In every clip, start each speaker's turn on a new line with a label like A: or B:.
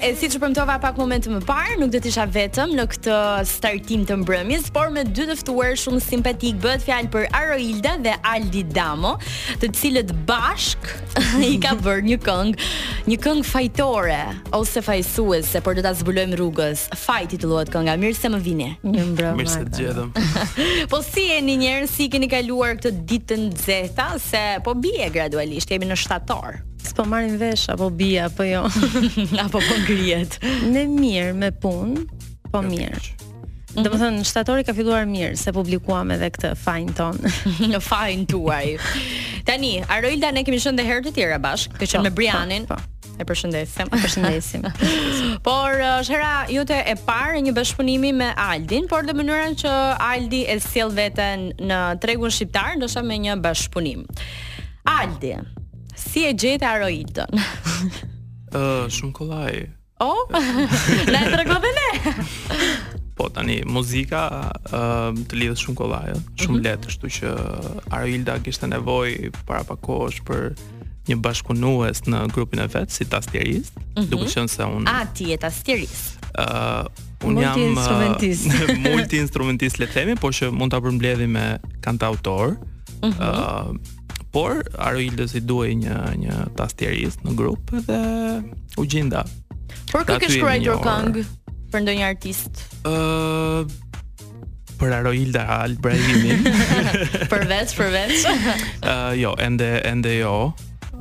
A: e siç e premtova pak momente më parë, nuk do të isha vetëm në këtë startim të mbrëmjes, por me dy të ftuar shumë simpatik. Bëhet fjalë për Aroilda dhe Aldi Damo, të cilët bashk i ka bërë një këngë, një këngë fajtore ose fajsuese, por do ta zbulojmë rrugës. Fajti titullohet kënga. Mirë se më vini.
B: Një mbrëmë.
C: Mirë se të gjetëm.
A: Po si jeni njerëz, si keni kaluar këtë ditë të nxehta se po bie gradualisht, jemi në shtator.
B: S'po marrin vesh apo bia apo jo.
A: Apo po ngrihet.
B: Me mirë, me punë, po mirë.
C: Mhm.
B: Do të thënë, shtatori ka filluar mirë, se publikuam edhe këtë fajin ton.
A: në fajin tuaj. Tani, Aroilda ne kemi qenë dhe herë të tjera bashkë, ke qenë me Brianin.
B: po,
A: E përshëndesim.
B: Përshëndesim.
A: Por uh, është hera jote e parë e një bashkëpunimi me Aldin, por dhe mënyrën që Aldi e sjell veten në tregun shqiptar, ndoshta me një bashkëpunim. Aldi, si e gjete Aroildën?
C: Ë, shumë kollaj.
A: O, Oh, na e tregove ne.
C: Po tani muzika ë të lidhet shumë kollaj, ë, shumë lehtë, kështu që Arilda kishte nevojë para pak kohësh për një bashkëpunues në grupin e vet si tastierist, duke qenë se unë
A: A ti je tastieris.
C: uh, unë jam
B: Multi-instrumentist.
C: uh, multi-instrumentist le të themi, por që mund ta përmbledhi me kantautor. Ëh, por Aroildës i duhej një një tastierist në grup dhe u gjinda.
A: Por kë
C: Ka
A: ke
C: ty e
A: shkruar
C: njohur.
A: këngë për ndonjë artist
C: Ëh, për Aroilda Albrahimin.
A: përveç përveç.
C: Ëh, jo, ende ende jo.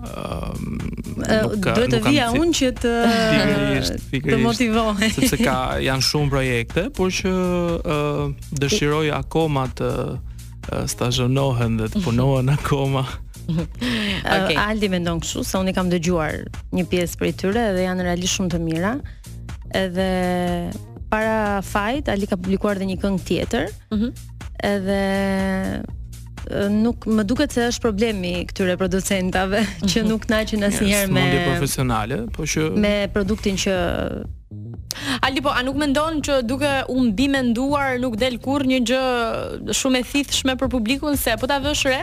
C: Ëm, nuk ka-
B: Duhet të
C: nuk kam
B: vija
C: si-
B: unë që të
C: Pikërisht,
B: të
C: pikërisht.
B: motivohej.
C: sepse ka janë shumë projekte, por që uh, dëshiroj akoma të uh, stazhonohen dhe të punohen akoma.
B: Ë,
A: Okej.
B: Aldi mendon kështu se unë i kam dëgjuar një pjesë prej tyre dhe janë realisht shumë të mira. Edhe para fajt Ali ka publikuar dhe një këngë tjetër.
A: Mhm.
B: Edhe ë, nuk më duket se është problemi këtyre producentave
A: Mhm.
B: që nuk naqen asnjëherë me
C: Smundje profesionale, por që
B: me produktin që
A: Ali po, a nuk mendon që duke u mbi menduar nuk del kur një gjë shumë e thithshme për publikun se po ta vësh re,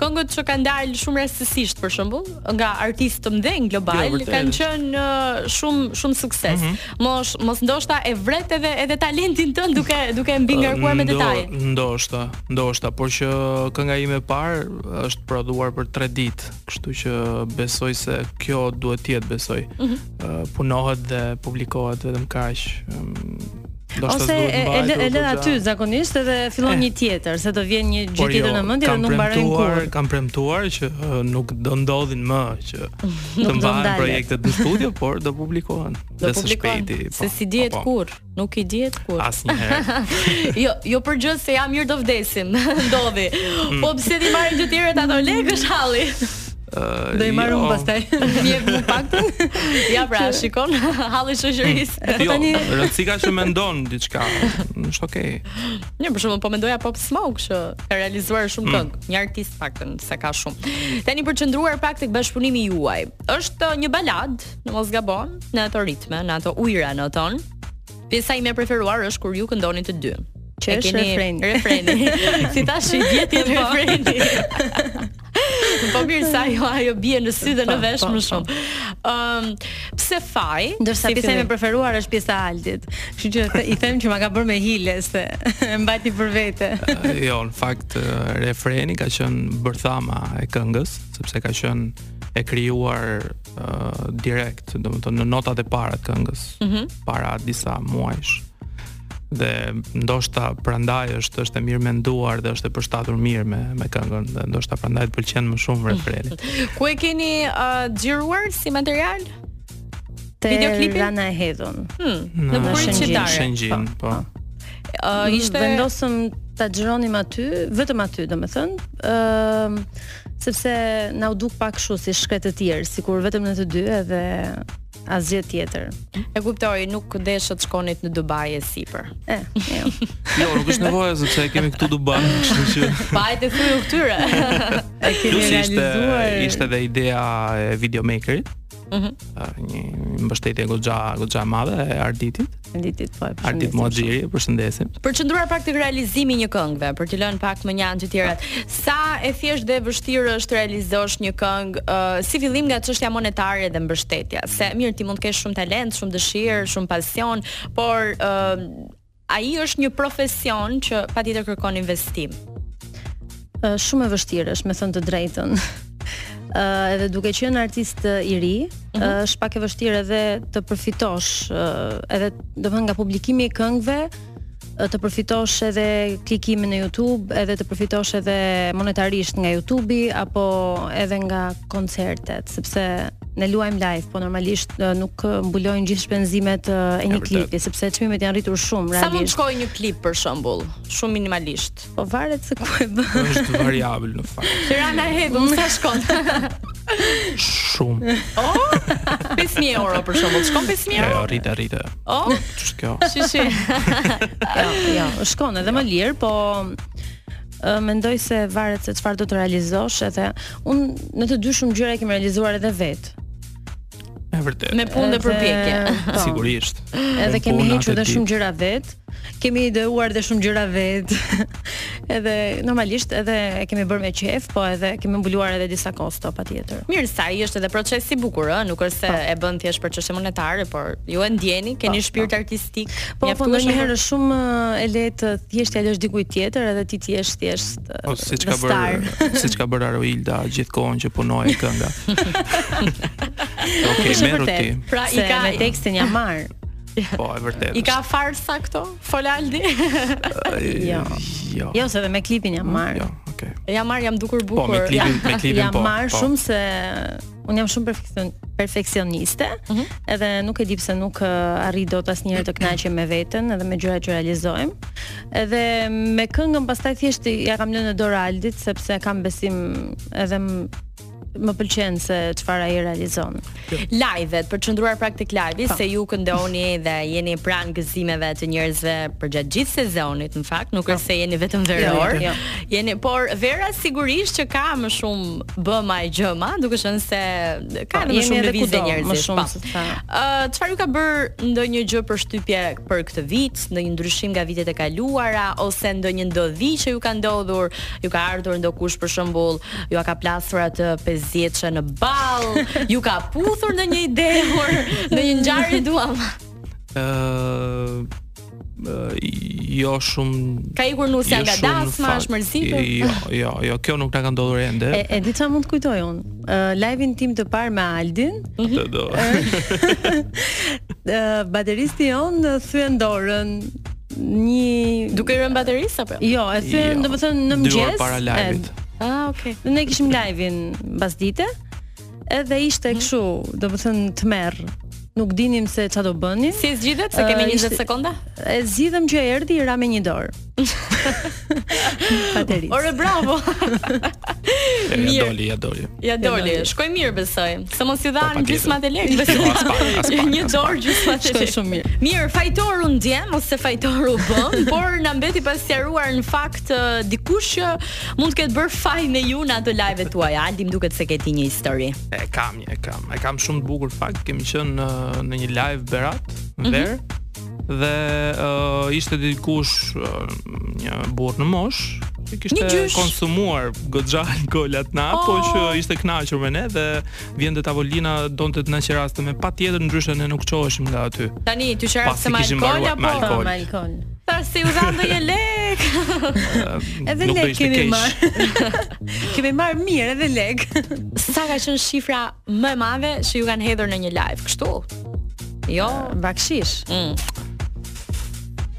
A: këngët që kanë dalë shumë rastësisht për shembull, nga artistë të mëdhenj global
C: Jo, vërtet. Mhm.
A: kanë qenë uh, shumë shumë sukses. Mos mos ndoshta e vret edhe edhe talentin tënd duke duke e mbi ngarkuar me
C: Ndo-
A: detaje.
C: Ndoshta, ndoshta, por që kënga ime e parë është prodhuar për 3 ditë, kështu që besoj se kjo duhet të jetë besoj.
B: Mhm.
C: Ë, punohet dhe publikohet vetëm kaq. Ëm, ndoshta
B: ose
C: s'duhet
B: e e lë
C: mbajtur
B: e lë
C: goxha.
B: aty zakonisht edhe fillon
C: Eh.
B: një tjetër, se do vjen një gjë
C: Por jo,
B: tjetër në mendje dhe
C: kam
B: nuk mbarojnë
C: premtuar-
B: kurrë.
C: Kam premtuar që ë, nuk do ndodhin më që të
B: do
C: mbahen
B: ndalet.
C: projektet në studio, por do publikohen.
A: Do
C: Dhe së
A: publikon,
C: shpejti, po,
A: se si dihet
C: po, po.
A: kur, nuk i dihet kur.
C: Asnjëherë.
A: Jo, jo për gjë se jam mirë do vdesim, ndodhi.
C: Mm.
A: Po pse ti marrin të tjerët ato lekësh halli?
C: Ë,
B: Do i marr unë
C: jo.
B: pastaj.
A: Mjep më paktën. Ja pra, shikon halli shoqërisë.
C: Jo,
B: Tani-
C: rëndësika që mendon diçka, është okay.
A: Ne për shembull po mendoja Pop Smoke që ka realizuar shumë këngë, një artist paktën se ka shumë. Tani për të qëndruar pak tek bashkëpunimi juaj. Është një balad, në mos gabon, në ato ritme, në ato ujëra noton. Pjesa ime e preferuar është kur ju këndoni të dy.
B: Që
A: E
B: është
A: keni-
B: refreni.
A: Refreni. si tash i dihet jetë refreni. po mirë sa ajo ajo bie në sy dhe në
B: Po,
A: vesh
B: po,
A: më
B: po.
A: shumë. Ëm pse faj?
B: Ndërsa
A: Si
B: pjesa ime
A: fillim?
B: e preferuar është pjesa e Altit. Kështu që the- i them që ma ka bërë me hile se e mbajti për vete.
C: Ë, jo, në fakt ë, refreni ka qenë bërthama e këngës, sepse ka qenë e krijuar ë, direkt, domethënë në notat e para të këngës, para disa muajsh. Dhe ndoshta prandaj është është e mirë menduar dhe është e përshtatur mirë me me këngën dhe ndoshta prandaj të pëlqen më shumë refreni.
A: Ku e keni uh, xhiruar si material?
B: Te
A: Videoklipi?
B: Rana e hedhun.
A: Hmm, në bukurin
B: Shëngjin.
A: qytetare.
C: Shëngjin, po.
B: Po,
A: Uh,
B: Mm,
A: ishte
B: vendosëm ta xhironim aty, vetëm aty domethënë. Ëm sepse na u duk pak kështu si shkretë të tjerë, sikur vetëm në të dy edhe asgjë tjetër.
A: E kuptoj, nuk deshët shkonit në Dubai e sipër.
B: E, jo.
C: Jo, nuk është nevoja sepse e kemi këtu Dubai, kështu që
A: Pa e të thuju këtyre.
B: E kemi
C: Plus ishte
B: realizuar.
C: ishte edhe ideja e videomakerit,
B: Mhm.
C: ë, një mbështetje goxha goxha e madhe e Arditit.
B: Arditit po e
C: Ardit Muaxhiri, e përshëndesim.
A: Për të çndruar pak tek realizimi i një këngëve, për të lënë pak më njanë të tjerat. Sa e thjesht dhe e vështirë është të realizosh një këngë uh, si fillim nga çështja monetare dhe mbështetja, se mirë ti mund të kesh shumë talent, shumë dëshirë, shumë pasion, por uh, ai është një profesion që patjetër kërkon investim.
B: Ë, shumë e vështirë është, me thënë të drejtën. Ë, edhe duke qenë artist ë, i ri,
A: Mhm.
B: ë, është pak e vështirë edhe të përfitosh ë, edhe do të thënë nga publikimi i këngëve ë, të përfitosh edhe klikimin në YouTube, edhe të përfitosh edhe monetarisht nga YouTube-i apo edhe nga koncertet, sepse ne luajm live, po normalisht ë, nuk ë, mbulojnë gjithë shpenzimet ë, e një
C: vërtet.
B: klipi, sepse çmimet janë rritur shumë
A: Sa mund të
B: realisht.
A: shkojë një klip për shembull, shumë minimalisht.
B: Po varet se ku e bën.
C: Është variabël në fakt.
A: Tirana hedhum sa shkon?
C: Shumë.
A: Oh, 5000 euro për shembull. Shkon 5000
C: Jo, jo,
A: euro.
C: rrit, rrit.
A: Oh,
C: Ç'është kjo?
A: shi shi.
B: jo, jo, shkon edhe më lirë, po ë, mendoj se varet se çfarë do të realizosh edhe un në të dy shumë gjëra e kem realizuar edhe vet.
C: E vërtet.
A: Me punë dhe përpjekje.
B: Edhe- po,
C: Sigurisht.
B: Edhe
C: Unë
B: kemi
C: puna
B: hequr
C: atë
B: dhe shumë
C: ditë.
B: gjëra vet. Kemi ideuar dhe shumë gjëra vet. edhe normalisht edhe e kemi bërë me qejf, po edhe kemi mbuluar edhe disa kosto patjetër.
A: Mirë, sa i është edhe procesi i bukur, ë, nuk është se e bën thjesht për çështje monetare, por ju e ndjeni, keni
B: Po,
A: shpirt artistik.
B: Po, po
A: mjaftueshëm
B: ndonjëherë
A: për-
B: është shumë e lehtë thjesht ja lësh dikujt tjetër edhe ti ti jesh thjesht. ë,
C: Po siç
B: the
C: ka
B: star.
C: bër, siç ka bër Aroilda gjithkohon që punoi kënga. Okej,
B: Është
C: merru ti.
B: vërtet.
A: Pra, i
B: se
A: ka-
B: me tekstin ja marr.
C: Po, e vërtet.
A: I ka farsa këto, Folaldi?
B: Jo.
C: Jo.
B: Jo, se edhe me klipin jam marr.
C: Jo, okay.
A: ja marr, jam dukur bukur.
C: Po, me klipin, me klipin
B: jam
C: po.
B: marr
C: po.
B: shumë se un jam shumë perfeksion, perfeksioniste,
C: Mhm.
B: edhe nuk e di pse nuk uh, arri dot asnjëherë të kënaqem me veten edhe me gjërat që realizojmë. Edhe me këngën pastaj thjesht i- ja kam lënë në dorë Aldit sepse kam besim edhe m- më pëlqen se çfarë ai realizon.
A: live-et, për të qëndruar pra tek live-i,
B: Po.
A: se ju këndoni dhe jeni pranë gëzimeve të njerëzve përgjatë gjithë sezonit, në fakt, nuk është se jeni vetëm veror.
B: Po. Jo, jo.
A: Jeni, por vera sigurisht që ka më shumë bëma e gjëma, duke qenë se ka
B: Po,
A: edhe më
B: jeni
A: shumë
B: edhe
A: lëvizje
B: kudo, më
A: njerëzish.
B: shumë
A: po.
B: se sa-
A: Ë, çfarë ju ka bërë ndonjë gjë për shtypje për këtë vit, ndonjë ndryshim nga vitet e kaluara ose ndonjë ndodhi që ju ka ndodhur, ju ka ardhur ndokush për shembull, ju a ka plasur atë 50-shë në ball, ju ka puthur në një idehur, në një ngjarje duam.
C: Ë, ë, jo shumë
A: Ka ikur nusja
C: jo
A: nga
C: shumë në
A: dasma,
C: fakt.
A: është mërzitur.
C: Jo, jo, jo, kjo nuk na ka ndodhur ende.
B: E, e di çfarë mund të kujtoj unë. Uh, Live-in tim të parë me Aldin,
C: po Të
A: mhm.
C: do.
B: uh, bateristi jon uh, thyen dorën një
A: Duke rënë baterisë apo? jo?
B: Jo, e thyen
C: Jo.
B: domethënë në
C: Dy orë
B: mëngjes.
C: para
B: e,
C: live-it.
A: Ah, okay.
B: Dhe ne kishim live-in mbas dite. Edhe ishte kështu, domethënë tmerr. Nuk dinim se ç'a do bënim.
A: Si e zgjidhet se kemi
B: Ë,
A: 20
B: ishte-
A: sekonda?
B: E zgjidhëm që erdhi i ra me një dorë. Baterisë.
A: Ore bravo.
C: E,
A: mirë.
C: doli, ja doli.
A: Ja doli,
B: doli.
A: shkoj mirë besoj. Se mos ju dhan
C: patjetër.
A: gjysmat e lekë besoj.
C: Jo, as pak, as pak,
A: Një
C: as
A: dorë gjysmat e
B: Shkoj
A: lekë.
B: shumë mirë.
A: Mirë, fajtoru ndjem ose fajtoru bëm, por na mbeti pas sqaruar në fakt ë, dikush që mund të ketë bërë faj me ju në ato live tuaja. Aldi më duket se ke ti një histori.
C: E kam, e kam. E kam shumë të bukur fakt. Kemi qenë në, në një live Berat
B: Mhm.
C: në verë dhe uh, ishte dikush uh, një burr në mosh që
A: Një
C: kishte
A: gjysh.
C: konsumuar goxha alkool atë na, po
A: Oh.
C: që ishte kënaqur me ne dhe vjen te tavolina donte të na qeraste me patjetër ndryshe ne nuk çoheshim nga aty.
A: Tani ty qera
C: Pasi
A: se me
C: kishim
A: alkool
C: mbaruar me
A: apo
B: Po,
C: alkool.
B: me alkool.
A: thash se u dhan ndonjë lek.
B: Edhe
C: nuk do
B: lek
C: ishte
B: kemi
C: keq.
B: marr. Kemi marr mirë edhe lek.
A: Sa ka qenë shifra më e madhe që ju kanë hedhur në një live, kështu? Jo,
B: Bakshish.
A: mm.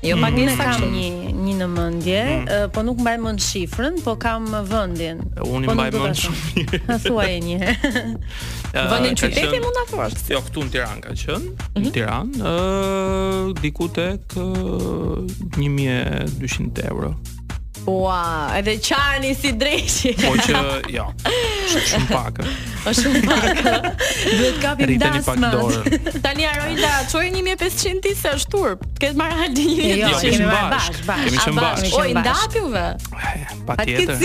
A: Jo,
C: Mm.
A: pak
B: Ne
A: një pak
B: kam
A: shumë.
B: një një në mendje,
C: Mhm.
B: ë, po nuk mbaj mend shifrën, po kam vendin.
C: Unë i
B: Po nuk
C: mbaj
B: do ta
C: mend
B: them.
C: shumë mirë.
B: Ha thuaj një herë.
C: Ë,
A: Vendin
C: ka
A: qyteti
C: qenë-
A: mund ta Mhm. thuash.
C: Jo, këtu në Tiranë ka qenë, në Tiranë, ë diku tek ë, 1200 euro.
A: Ua, edhe qani si dreqi.
C: Po që jo, sh- shumë pak. ë.
A: Është shumë pak. Duhet kapim
C: Rriteni pak
A: dasmat.
C: dorën.
A: Tani Arolda, çoj 1500 ti se është turp. Të ketë marrë haldi
B: Jo,
C: Jo,
A: 1500.
B: kemi
C: kemi qenë
B: marrë
C: bashkë.
B: bashkë, bashkë.
C: Kemi
B: A,
C: qenë
B: bashkë,
C: bashkë.
A: O,
B: qenë
A: i
B: bashkë.
A: ndapiuve.
C: Patjetër.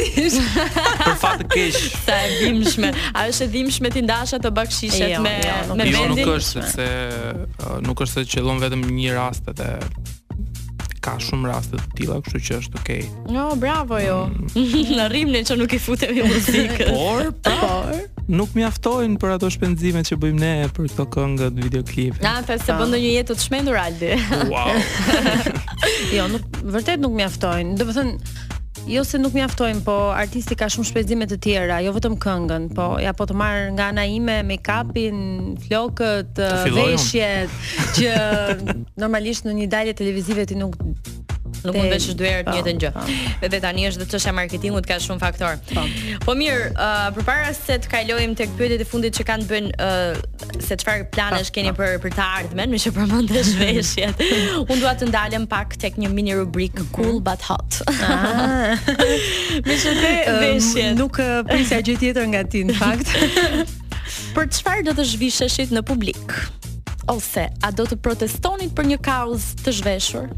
C: Për fat të keq.
A: Sa e dhimshme. A është e dhimshme ti ndasha të bakshishet
B: Jo,
A: me
B: jo, nuk
A: me
B: është.
C: Jo,
A: vendin?
C: nuk është sepse ë, nuk është se qëllon vetëm një rast edhe ka shumë raste të tilla, kështu që është okay.
A: Jo, bravo jo.
B: Mm.
A: Në rrimne që nuk i futemi muzikës.
C: Por
A: Por.
C: nuk mjaftojnë për ato shpenzime që bëjmë ne për këto këngët, videoklipe.
A: Na
B: Po.
A: thë se bën ndonjë jetë të shmendur Aldi.
C: Wow.
B: Jo, nuk vërtet nuk mjaftojnë. Do të thënë jo se nuk mjaftojnë, po artisti ka shumë shpenzime të tjera, jo vetëm këngën, po ja po të marr nga ana ime make-upin, flokët, eh,
C: filloj unë.
B: veshjet që normalisht në një dalje televizive ti nuk
A: Nuk
B: Te-
A: mund vesh dy herë të
B: po,
A: njëjtën gjë.
B: po.
A: Edhe tani është dhe çështja e marketingut ka shumë faktor.
B: Po.
A: Po mirë, uh, përpara se të kalojmë tek pyetjet e fundit që kanë të bëjnë uh, se çfarë planesh keni për për të ardhmen, më që përmendesh veshjet. Unë dua të ndalem pak tek një mini rubrik cool but hot. Me që te veshjet.
B: nuk eh, prisja gjë tjetër nga ti në fakt.
A: Për çfarë do të zhvisheshit në publik? Ose a do të protestonit për një kauzë të zhveshur?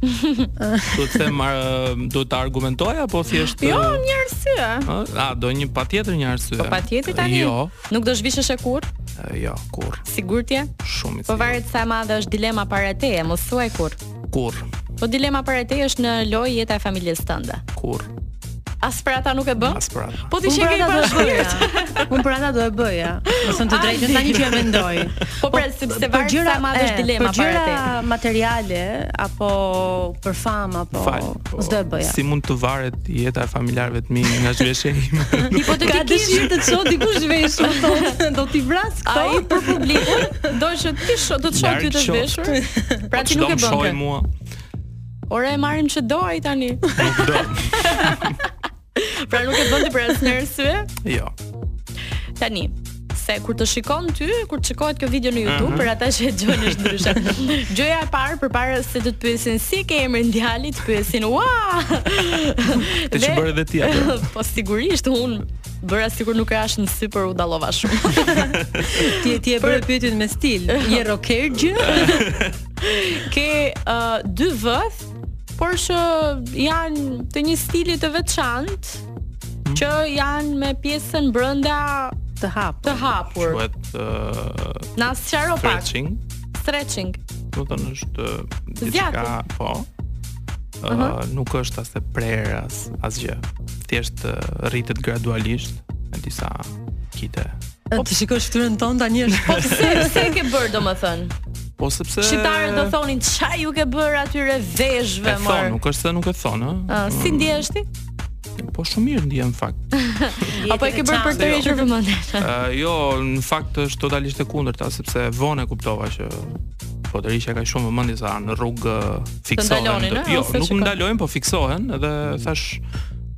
C: Duhet të them, ar- duhet të argumentoj apo thjesht
A: Jo,
C: ë,
A: një arsye.
C: ë, A do një patjetër një arsye.
A: Po patjetër tani.
C: Jo,
A: Nuk do zhvishesh e kur?
C: ë, jo, kurr.
A: Sigurt je?
C: Shumë i
A: Po
C: sigurt.
A: varet sa e madhe është dilema para teje, mos thuaj kur.
C: Kurr,
A: Po dilema para teje është në lojë jeta e familjes tënde.
C: kurr.
A: As për ata nuk e bën?
C: As për atë.
A: Po ti që ke
B: do e
A: bashkë.
B: bëja. Unë për ata do e bëja. Mos të drejtën tani që e mendoj.
A: Po pra, sepse varet sa e madhe është dilema para
B: për po gjëra
A: teje.
B: materiale apo për famë apo
C: Fal. po,
B: s'do e bëja.
C: Si mund të varet jeta e familjarëve të mi nga zhveshja ime?
B: Ka dëshirë të çon dikush vesh, më thonë, do t'i vras këto.
A: Ai po, për publikun do që ti sho, do të shoh
C: Larg
A: ty të
C: qoftë. Po
A: zhveshur. Pra ti
C: Çdo
A: nuk e
C: më
A: bën.
C: shoj
A: kë.
C: mua.
A: Ora e marrim që do ai tani.
C: Nuk do.
A: Pra nuk e bën ti për asnjë arsye
C: Jo.
A: tani. Se kur të shikon ty, kur të shikohet kjo
C: Mhm.
A: video në YouTube, për ata që e dëgjojnë është ndryshe. Gjëja e parë përpara se të të pyesin si ke emrin djalit, të pyesin ua.
C: Ti që bërë edhe ti atë.
A: po sigurisht un bëra sikur nuk rash në sy për u dallova shumë.
B: ti ti e bëre pyetjen me stil. Je rocker gjë?
A: Ke uh, dy vëth, por që janë të një stili të veçantë
C: Mhm.
A: që janë me pjesën brenda
B: Të hap.
A: të hapur.
C: Quhet ë,
A: Na sqaro pak.
C: stretching.
A: Stretching.
C: Do të thënë është ë,
A: Zjarri.
C: diçka, po. Ë, nuk është as e prerë as asgjë. Thjesht ë, rritet gradualisht në disa kite.
B: Të shikosh fytyrën tonë tani
A: Po
B: është.
A: pse pse e ke bër domethën?
C: Po sepse
A: Shqiptarët do thonin çaj ju ke bër atyre veshëve
C: E
A: mor.
C: thon, nuk Mm. është se nuk e thon, ë.
A: Ë, si ndjehesh ti?
C: Po shumë mirë ndjen në fakt.
A: Apo e ke bër për të
C: Jo.
A: rritur vëmendjen?
C: Ë, jo, në fakt është totalisht e kundërta sepse vonë e kuptova që po të rishja ka shumë vëmendje sa në rrugë ë, fiksohen.
A: ndalonin,
C: do-
A: ë,
C: jo,
A: ose
C: nuk
A: shikon?
C: ndalojnë, po fiksohen edhe thash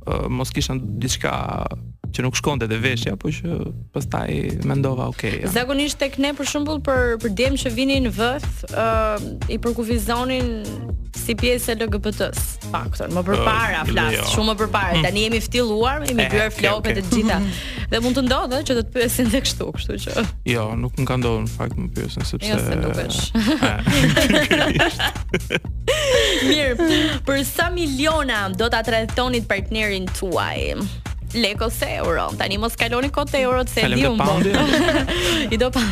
C: ë, mos kisha diçka që nuk shkonte te veshja, po që pastaj mendova, okay. Ja.
A: Zakonisht tek ne për shembull për për djem që vinin vëth, ë i përkufizonin si pjesë e LGBT-s. Paktën, më përpara
C: Ë,
A: flas,
C: jo. Eh,
A: shumë më përpara. Tani jemi ftilluar, jemi
C: E,
A: byer
C: okay,
A: flokët
C: okay.
A: e gjitha. Dhe mund të ndodhë që të të pyesin dhe kështu, kështu që
C: Jo, nuk më ka ndodhur në fakt më pyesën sepse
A: jo se dukesh.
C: E,
A: Mirë, për sa miliona do ta tradhtonit partnerin tuaj? Lek ose euro. Tani mos kaloni kot e eurot se e
C: Kalem
A: di
C: te
A: un
C: poundi.
A: I do pa.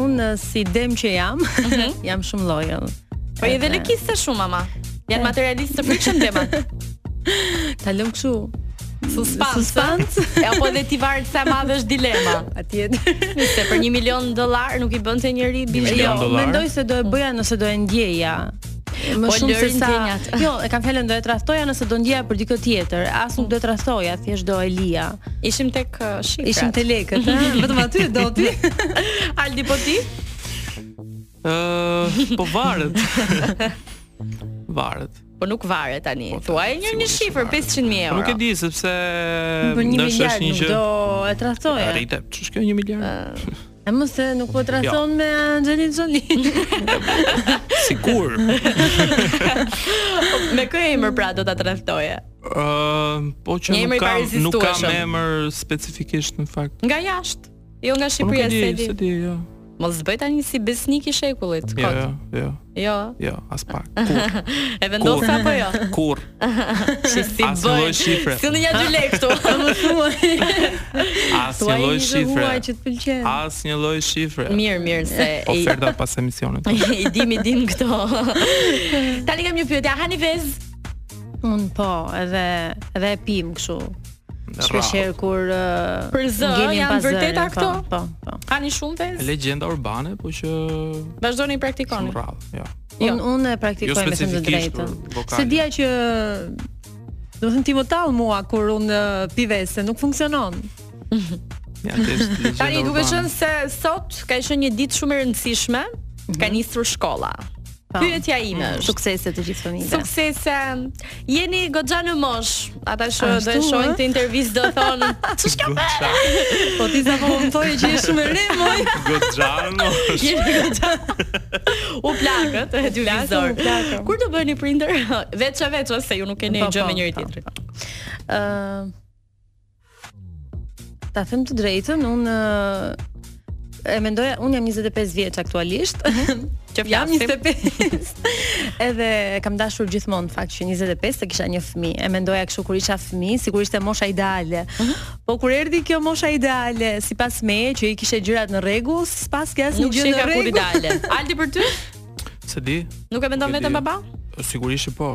B: Unë si dem që jam, jam shumë loyal.
A: Mhm. Po i dhe
B: Edhe-
A: lekiste shumë ama. Janë materialistë të frikshëm tema.
B: Ta lëm kështu.
A: Suspans.
B: Suspans.
A: E apo edhe ti varet sa e madhe është dilema.
B: Atje.
A: Se për 1 milion dollar nuk i bënte njëri biznes.
C: milion
B: Jo,
C: dollar.
B: mendoj se do e bëja nëse do e ndjeja. Më
A: Po,
B: shumë se
A: lërin
B: sa.
A: t'jenjat.
B: Jo, e kam fjalën do e tradhtoja nëse do ndjeja për dikë tjetër. As nuk do e tradhtoja, thjesht do e lija.
A: Ishim tek uh, shifrat.
B: Ishim te lekët, ha? Vetëm aty e do ti.
A: Aldi po ti?
C: Ë, po varet. varet.
A: Po nuk varet tani.
C: Po,
A: Thuaj një një
C: sigurisht
A: shifër
C: varet.
A: 500.000 euro.
C: Nuk e di sepse
B: Për
A: Po
B: 1
C: ndoshta
B: miliard
C: është një
B: nuk
C: gjë.
B: do e tradhtoja.
C: Arrite, ç'është kjo 1 miliard?
B: E mos se nuk
C: Jo.
B: po trashon me Angelina Jolie.
C: Sigur.
A: Me kë emër pra do ta tradhtoje?
C: Ë, po që
A: Një emër i
C: nuk kam nuk kam
A: parezistueshëm.
C: emër specifikisht në fakt.
A: Nga jashtë. Jo nga
C: Po nuk e
A: Shqipëria
C: di,
A: se di.
C: se di, jo.
A: Mos bëj tani si besnik i shekullit.
C: Jo,
A: kot.
C: jo, jo,
A: Jo.
C: jo, as pak. Kur,
A: E vendos apo jo?
C: kur.
A: Si si
C: As një
A: bëj.
C: lloj shifre.
A: Si në një dy lek këtu.
C: As një lloj shifre.
B: huaj që të pëlqen.
C: As një lloj shifre.
A: Mirë, mirë se i
C: Oferta pas emisionit.
A: i dim i dim këto. Tani kam një pyetje, a hani vez?
B: Un po, edhe edhe e pim kështu. Shpeshherë kur uh,
A: Për zë,
B: ngelim
A: janë
B: pas zërit,
A: vërteta
B: po,
A: këto?
B: Po, po.
A: Hani shumë vez?
C: Legjenda urbane, po që
A: Vazhdoni i praktikoni.
C: shumë rrallë, jo.
A: Jo.
B: Unë unë e praktikoj me të
C: specifikisht,
B: drejtën.
C: por vokale.
B: Se dia që do të thënë ti më tall mua kur unë uh, pi vese, nuk funksionon.
C: Ja, të është legjenda.
A: Tani duke
C: urbane.
A: qenë se sot ka qenë një ditë shumë e rëndësishme, ka
C: Mhm.
A: nisur shkolla.
C: Ah.
B: Po.
A: Pyetja ime është,
B: Suksese të gjithë familjes.
A: suksese, jeni goxha në mosh, ata që
B: Ashtu,
A: do e shohin
B: ë?
A: këtë intervistë do thonë, ç'është kjo?
C: Goxha,
B: Po ti sa po më thoje që je shumë e re, moj.
C: goxha, no.
A: Jeni goxha. U plakët e dy
B: Plakëm,
A: vizor.
B: u plakëm.
A: Kur do bëheni prindër? Veç e veç ose ju nuk keni
B: Po,
A: gjë
B: po,
A: me njëri
B: po,
A: tjetrin.
B: Ë ta them të drejtën, unë ë, e mendoja, unë jam 25 vjeç aktualisht.
A: Që
B: jam
A: flasim.
B: 25. Edhe e kam dashur gjithmonë fakt që 25 të kisha një fëmijë. E mendoja kështu kur isha fëmijë, sikur ishte mosha ideale.
A: Mhm.
B: Po kur erdhi kjo mosha ideale, sipas meje që i kishte gjërat në rregull, sipas ke asnjë
A: Nuk
B: gjë
A: shih
B: në
A: ka kur i
B: rregull.
A: dale. Aldi për ty?
C: Se di?
A: Nuk e mendon
C: Nuk e
A: vetëm
C: di.
A: baba?
C: Sigurisht që po.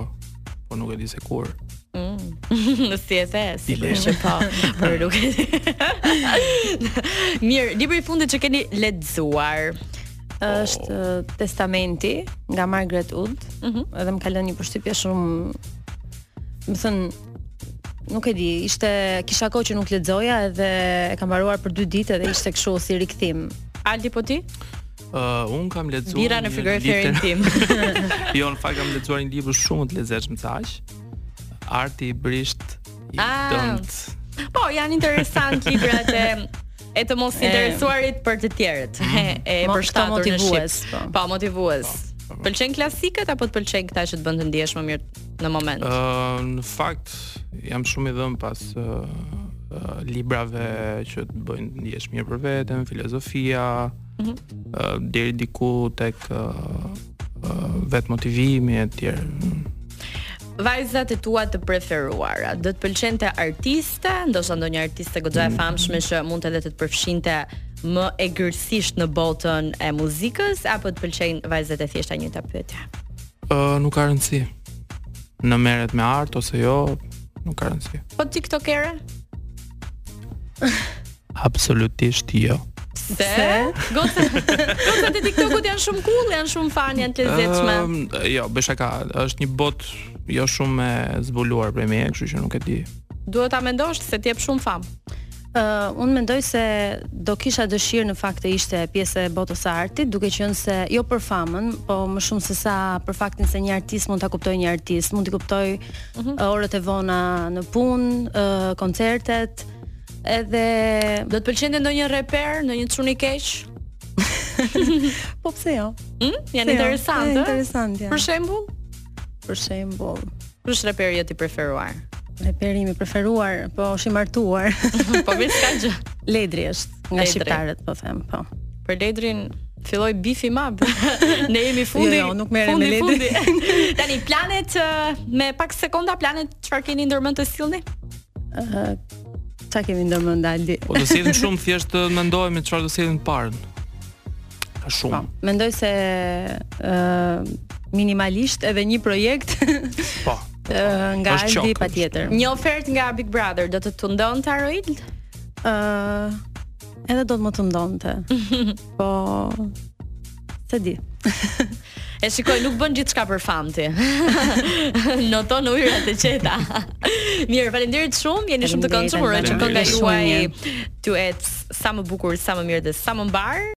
C: Po nuk e di se kur.
A: Në si e the, si
C: Dilema.
A: që po, për nuk e di. Mirë, libri i fundit që keni lexuar.
B: është eh, Testamenti nga Margaret Wood.
A: Mhm.
B: Edhe më ka lënë një përshtypje shumë, më thën, nuk e di, ishte kisha kohë që nuk lexoja edhe e kam mbaruar për dy ditë edhe ishte kështu si rikthim.
A: Aldi po ti?
C: Uh, un kam lexuar
A: Bira në
C: një
A: frigoriferin
C: litër-
A: tim.
C: jo, në fakt kam lexuar një libër shumë të lezetshëm të aq. Arti i brisht i
A: Ah.
C: dëmt.
A: Po, janë interesant librat e e të mos interesuarit për të tjerët. E, e
B: Mm. Mo-
A: përshtatur
B: këto
A: në
B: motivues,
A: shqip.
B: po.
A: Po, motivues. Pëlqen klasikët apo të pëlqen këta që të bën të ndihesh më mirë në moment?
C: Uh, në fakt jam shumë i dhëm pas uh, uh, librave që të bëjnë ndjesh mirë për veten, filozofia, uh, deri diku tek uh, uh, vetë motivimi e tjerë.
A: Vajzat e tua të preferuara, do të pëlqente artiste, ndoshta ndonjë artiste goxha e famshme që mund edhe të të përfshinte më egërsisht në botën e muzikës apo të pëlqejnë vajzat e thjeshta një ta pyetja.
C: Uh, nuk ka rëndësi. Në merret me art ose jo, nuk ka rëndësi.
A: Po TikTokere?
C: Absolutisht jo.
A: Se gocat gocat e TikTokut janë shumë cool, janë shumë fan, janë të lezetshme.
C: Ëm, jo, bëj shaka, është një bot jo shumë e zbuluar prej meje, kështu që nuk e di.
A: Duhet ta mendosh se ti jep shumë fam.
B: Uh, unë mendoj se do kisha dëshirë në fakt të ishte pjesë e botës së artit, duke qenë se jo për famën, po më shumë se sa për faktin se një artist mund ta kuptoj një artist, mund t'i kuptoj uh, orët e vona në punë, uh, koncertet, edhe
A: Do të pëlqente ndonjë reper, ndonjë çuni keq?
B: po pse jo?
A: Hm? Janë
B: Pse jo?
A: interesante.
B: Janë
A: ë?
B: Interesant janë.
A: Për shembull,
B: Për shembull,
A: kush është reperi jot i preferuar?
B: reperimi preferuar, po është i martuar.
A: po vetë ka gjë.
B: Ledri është nga Ledri. shqiptarët, po them, po.
A: Për Ledrin filloi bifi mab. ne jemi fundi.
B: Jo, jo, nuk merrem
A: fundi,
B: me Ledrin.
A: fundi. Tani planet ë, me pak sekonda planet çfarë keni ndërmend të sillni?
B: Çka kemi ndërmend Aldi?
C: Po do sillen shumë thjesht të mendohemi çfarë do sillen të parën. Ka shumë.
B: Po, mendoj se ë minimalisht edhe një projekt
C: Po.
B: ë, nga
C: Është
B: Aldi
C: qok,
B: patjetër.
A: Një ofertë nga Big Brother do të të ndonte Aroild?
B: ë edhe do të më të ndonte. po se di.
A: E shikoj, nuk bën gjithçka për famë ti. Noton ujrat e qeta. Mirë, faleminderit shumë. Jeni shumë të
B: Faleminderit,
A: këndshëm. Uroj që
C: Alban.
A: kënga
C: Faleminderit
A: juaj
B: shumë,
A: të jetë sa më bukur, sa më mirë dhe sa më mbar.